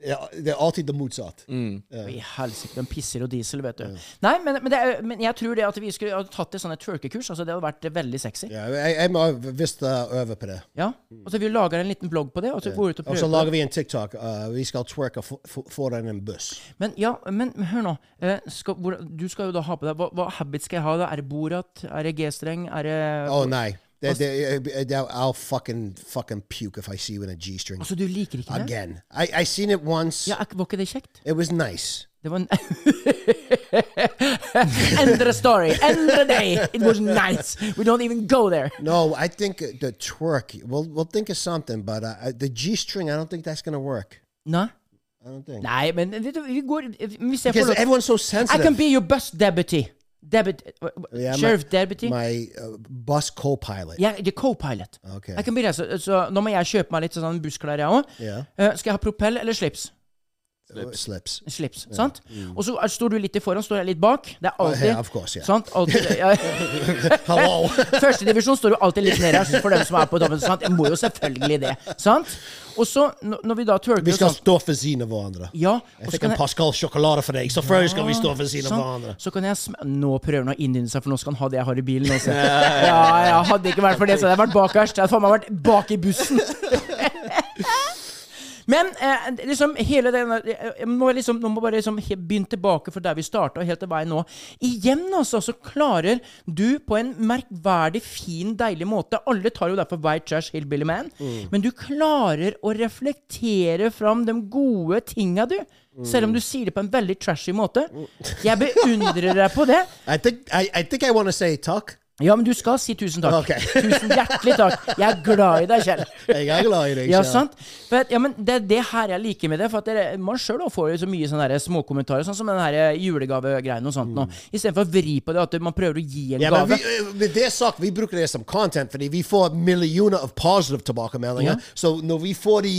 Det er- det er alltid det motsatt.
Mm. I helsike, de pisser og diesel, vet du. Nei, men, men, det er, men jeg tror det at vi skulle ha tatt et sånt twerkekurs. Altså, det hadde vært veldig sexy.
Ja, jeg, jeg må visst eh, øve på det.
Ja. Og så vi lager en liten blogg på det, og så går vi ut og
Og så
prøver. på det.
lager vi en TikTok. eh, vi skal twerke for- for- foran en buss.
Men ja, men hør nå. Eh, Skal, hvor, du skal jo da ha på deg Hva, hva habits skal jeg ha? da? Er det Borat? Er det G-streng? Er det
Å nei. Det, det, det, I'll fucking, fucking puke if I see you in a G-string
Altså, du liker ikke det?
again. I, I seen it once.
Ja, er- var ikke det kjekt?
It was nice.
Det var en <laughs> Endre story! Endre day! It was nice! We don't even go there!
No, I think the twerk. We'll we'll think of something, but uh, I- the G string. I don't think that's gonna work.
Nei,
I don't think.
Nei men vet du, vi går Hvis jeg får
Because
lov
everyone's so
I
sensitive.
can be your bus deputy. Debut,
Yeah, my-
sheriff deputy.
My uh, bus co-pilot.
Ja, the co-pilot.
Okay.
Jeg kan bli det, så, så nå må jeg kjøpe meg litt sånn bussklær, jeg òg.
Yeah.
skal jeg ha propell eller slips?
Uh,
<laughs>
Slips.
Slips, sant? Og så er- står du litt i foran, står jeg litt bak. Det er alltid
yeah, Mm. of course, yeah.
Sant? Alltid,
<laughs>
ja.
Hello.
<laughs> Førstedivisjon står jo alltid litt nede her, for dem som er på toppen. Sant? Jeg må jo selvfølgelig det. Sant? Og så, når når vi da twerker
Vi
og
skal
er sånn
stå for siden av hverandre.
Ja.
Jeg
Og så
fikk en
kan jeg,
Pascal sjokolade for deg, så før skal vi stå ved siden av
sånn,
hverandre.
så kan jeg sm Nå prøver han å innynde seg, for nå skal han ha det jeg har i bilen også. Ja, ja, hadde det ikke vært for det, så hadde jeg vært bakerst. Jeg hadde faen meg vært bak i bussen. Men eh, liksom hele den jeg må liksom, Nå må bare liksom he- begynne tilbake for der vi starta, helt til veien nå. Igjen altså, så klarer du på en merkverdig fin, deilig måte Alle tar jo derfor White Trash Hillbilly Man. Men du klarer å reflektere fram de gode tinga, du. Selv om du sier det på en veldig trashy måte. Jeg beundrer deg på det.
I think I, I think I want to say talk.
Ja, men du skal si tusen takk.
Ok.
<laughs> Tusen hjertelig takk. Jeg er glad i deg, Kjell.
Jeg er glad i deg.
Ja,
Kjell.
sant? For, at- ja, men det er det her jeg liker med det. For at dere, Man sjøl får jo så mye sånne der småkommentarer, sånn som den her julegavegreien og sånt. nå. Istedenfor å vri på det, at man prøver å gi en
Mm. Ja, men
gave.
vi, eh, med det sagt, vi bruker det som content, fordi vi får millioner av positive tilbakemeldinger. Så når vi får de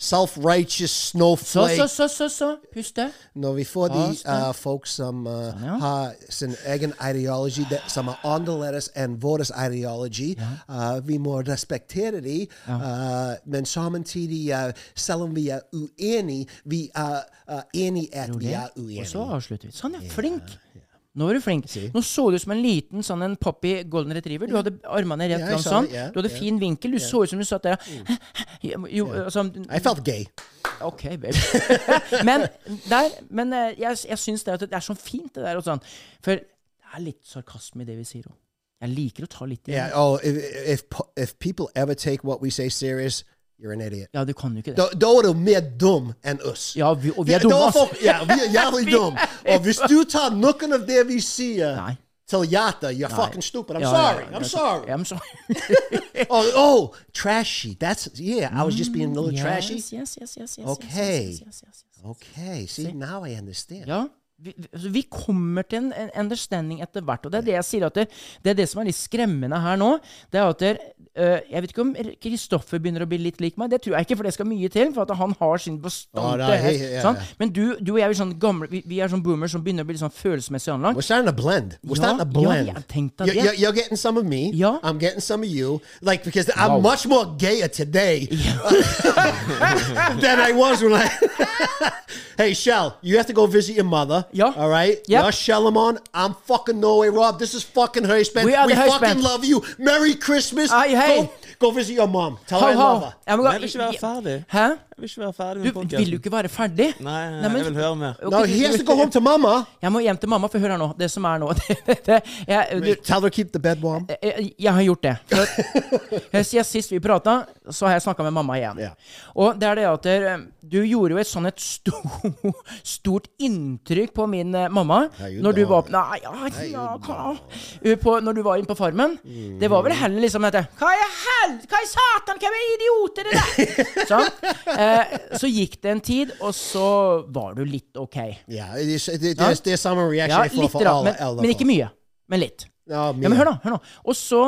self-righteous
Så,
snowflake
så, så, så, så. Puste.
Når vi får de
Pass deg.
eh, folk som eh,
ja.
har sin egen ideologi det, som er annerledes enn vår ideologi, eh, vi må respektere dem. uh, men samtidig, eh, selv om vi er uenige, vi er uh, enige at vi er
Og så
uenige.
avslutter vi. Sånn, ja. Flink. Nå var du flink. Nå så du ut som en liten sånn en poppy golden retriever. Du hadde armene rett
Ja, jeg
fram
sa
sånn.
det, ja,
Du hadde
ja. Mm.
fin vinkel. Du så ut som du satt der og <laughs> Jo, altså,
I felt gay.
Ok, babe. <laughs> men der, men eh, jeg, jeg syns det, at det er så fint, det der. Og sånn. For det er litt sarkasme i det vi sier òg. Jeg liker å ta litt i det.
Yeah. Oh, if, if po- if people ever take what we say serious, you're an idiot.
Ja, du kan jo ikke det.
Da, da er du mer dum enn oss.
Ja, vi- og vi er
Da- da
dumme, ass.
folk- Ja, vi er jævlig
<laughs> Vi er
dumme. Og hvis du tar noen av det vi sier
Nei.
til hjertet, you're fucking stupid. I'm
Ja, ja,
sorry.
ja,
I'm
ja,
sorry.
ja, I'm
<laughs>
sorry.
Oh, oh, trashy. That's, yeah, I was just being a little
Yes,
trashy.
Yes, yes, yes, yes, yes,
Okay.
yes, yes, yes, yes, yes.
Okay, see, now I understand.
Ja. Vi, vi- vi kommer til en en understanding etter hvert. Og det er det jeg sier at det, det er det som er litt skremmende her nå. Det er at det, eh, Jeg vet ikke om R- Kristoffer begynner å bli litt lik meg. Det tror jeg ikke, for det skal mye til. For at han har sin
Ja,
bestand
da,
til
hei,
hest,
ja,
sant?
ja.
Men du, du og jeg er sånn gamle vi, vi er sånn boomers som begynner å bli litt sånn følelsesmessig
We're
anlagt.
starting to blend.
Ja,
We're starting to
ja,
blend.
jeg tenkte
You're,
det.
you're- you're getting some of me.
Ja.
I'm getting some of you. Like, because I'm much more gayer
<laughs>
today <laughs> than I <laughs> was when I. hey, Shell, you have to go visit your mother.
Yeah.
All right?
Yep.
You're Shellamon. I'm fucking Norway Rob. This is fucking Hirschman.
We are the
fucking
Hirschman.
love you. Merry Christmas.
Aye,
hey.
hey.
Go, go visit your mom. Tell her I
Ho, ho.
love her.
Jeg må
Men
gå-
jeg vil ikke være ferdig.
Hæ?
Jeg vil ikke være ferdig
Du
med podcasten.
vil jo ikke være ferdig.
Nei, nei,
men-
jeg vil høre mer.
Ok,
No, he has to go home to
<laughs>
mama.
Jeg må hjem til mamma, for hør her nå. Det som er nå <laughs> det, det, det, jeg, du,
Tell her keep the bed warm.
jeg, Eh, jeg har gjort det. For at- jeg sier Sist vi prata, så har jeg snakka med mamma igjen.
Ja.
Og det er det at eh, du gjorde jo et sånn et sto, <laughs> stort inntrykk på min eh, mamma
Herregud,
når du
da.
var Nei, ja, ja, hva? Uh, på, Når du var inne på Farmen. Det var
Mhm.
vel heller liksom dette Hva i hel... Hva i satan? Hvem er idioter det der?
<laughs>
sånn. eh, så gikk det en tid, og så var du litt OK.
Yeah, it is, it, it, there's, there's some reaction
Ja,
I feel
litt,
for
da,
all,
men,
all of
men ikke
them.
mye. Men litt.
Ja,
Ja, men
mye.
hør nå, hør nå. Og så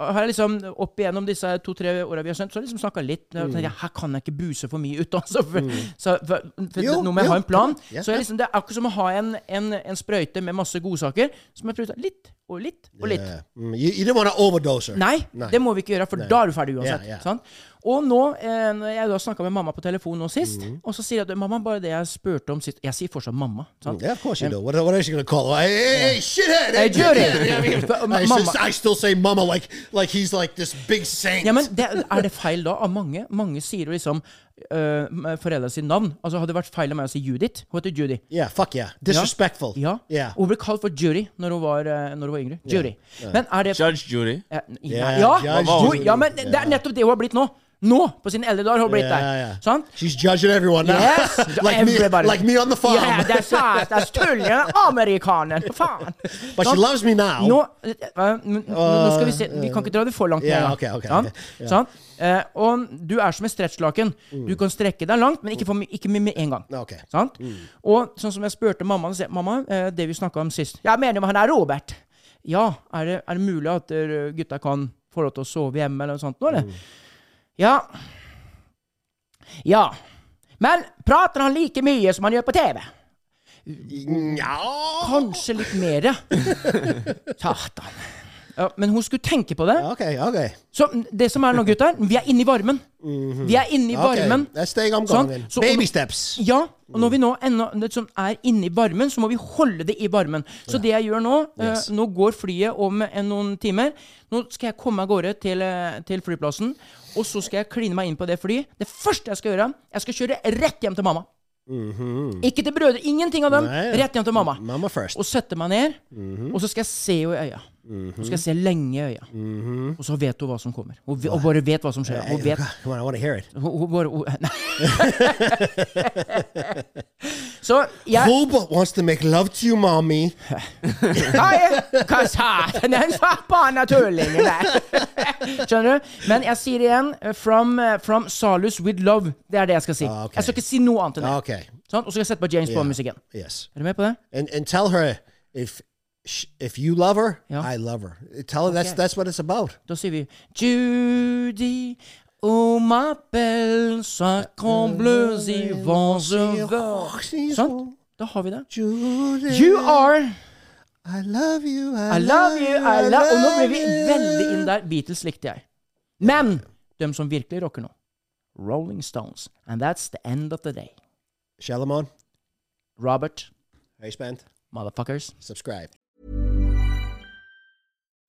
har jeg liksom opp igjennom disse to-tre åra vi har kjent, så har jeg liksom snakka litt. og
Mm.
tenkte jeg, Her kan jeg ikke buse for mye ut, altså. For, så, for, for
Jo,
nå må jeg
jo,
ha en plan.
klart. Ja,
så
ja.
jeg liksom, det er akkurat som å ha en, en, en sprøyte med masse godsaker, som jeg prøvde litt og litt og litt.
Yeah. Mm, you, you didn't want to overdose her.
Nei, det må vi ikke gjøre, for da er du ferdig uansett.
Ja, ja.
Sant? Og nå, eh, når jeg da snakka med mamma på telefon nå sist,
Mm.
og så sier jeg at mamma, bare det jeg spurte om sist Jeg sier fortsatt mamma. Sant?
Yeah, of course you do. What, what else you gonna call her? Hey, hey, hey shithead!
Hey, Judy. <laughs> But, um,
I,
mama-
s- I still say mama like like he's like this big saint.
Ja, men det, Er det feil da? Av mange mange sier jo liksom uh, foreldra sitt navn. Altså Hadde det vært feil av meg å si Judith? Hun heter Judy.
yeah, fuck yeah, disrespectful.
Ja.
yeah.
Hun ble kalt for Judy når hun var, eh, når hun var yngre. Judy. Men er det
Judge Judy.
Eh,
Ja,
Ja, ja,
Judge
hun,
Judy.
ja men det er nettopp det hun har blitt nå. Nå, på sin eldre dag, har hun blitt
Yeah,
der.
yeah.
Sant?
She's judging everyone now.
Yes,
<laughs> like
everybody.
me, like me on the farm.
Yeah, that's right. That's tullen. Amerikaneren. For faen.
<laughs> but she
Sant?
loves me now.
Nå, eh, eh, n- n- nå skal vi se Vi kan ikke dra det for langt. med
Ja,
en gang.
ok, ok,
Sant?
ok, ja. Mm.
Sant? Eh, og du er som et stretchlaken. Du kan strekke deg langt, men ikke, for, my- ikke med med en gang.
Ok.
Sant?
Mm.
Og sånn som jeg spurte mamma, så sier jeg, mamma, eh, det vi snakka om sist Jeg mener jo han er Robert. Ja, er det, er det mulig at eh, gutta kan få lov til å sove hjemme eller noe sånt nå, eller?
Mm.
Ja. Ja. Men prater han like mye som han gjør på TV?
Ja.
Kanskje litt mere. Satan. Ja, men hun skulle tenke på det.
OK, OK.
Så det som er nå, gutter, vi er inne i varmen.
Mhm.
Vi er inne i
okay.
varmen.
That's steg I'm
Sånn.
going.
Så-
Baby steps.
Ja, og når vi nå ennå liksom er inne i varmen, så må vi holde det i varmen. Så det jeg gjør nå eh,
Yes.
Nå går flyet om eh, noen timer. Nå skal jeg komme av gårde til, eh, til flyplassen, og så skal jeg kline meg inn på det flyet. Det første jeg skal gjøre, jeg skal kjøre rett hjem til mamma. Ikke til brødre, ingenting av dem.
Mhm. Nei.
Rett hjem til mamma.
Mamma first.
Og sette meg ned,
Mhm.
og så skal jeg se henne i øya. Nå skal jeg se lenge i øya.
Mhm.
Og så vet hun hva som kommer. Hun, ve- hun bare vet hva som skjer. Hun vet
Come on, I want to hear it.
hun, hun bare hun, <laughs> Nei. Så jeg
Robot wants to make love to you, mommy.
Nei, hva sa den den forbanna tullingen der? <laughs> Skjønner du? Men jeg sier igjen eh, from, eh, from Salus with love. Det er det jeg skal si.
Ah, ok.
Jeg skal ikke si noe annet enn det.
Okay.
Sånn? Og så skal jeg sette på James Bond-musikken.
Yes.
Er du med på det?
And and tell her if sh- if you love her,
Yeah.
I love her. Tell her that's that's what it's about.
Da sier vi Judy Oh, ma belle, ça comble si vents Sånn. Da har vi det.
oh, Judy,
You are
I love you. I,
I love you, I love Og nå ble vi veldig inn der. Beatles likte jeg. Men dem som virkelig rocker nå, Rolling Stones. And that's the end of the day.
Shalamon,
Robert,
hey spend,
motherfuckers.
subscribe.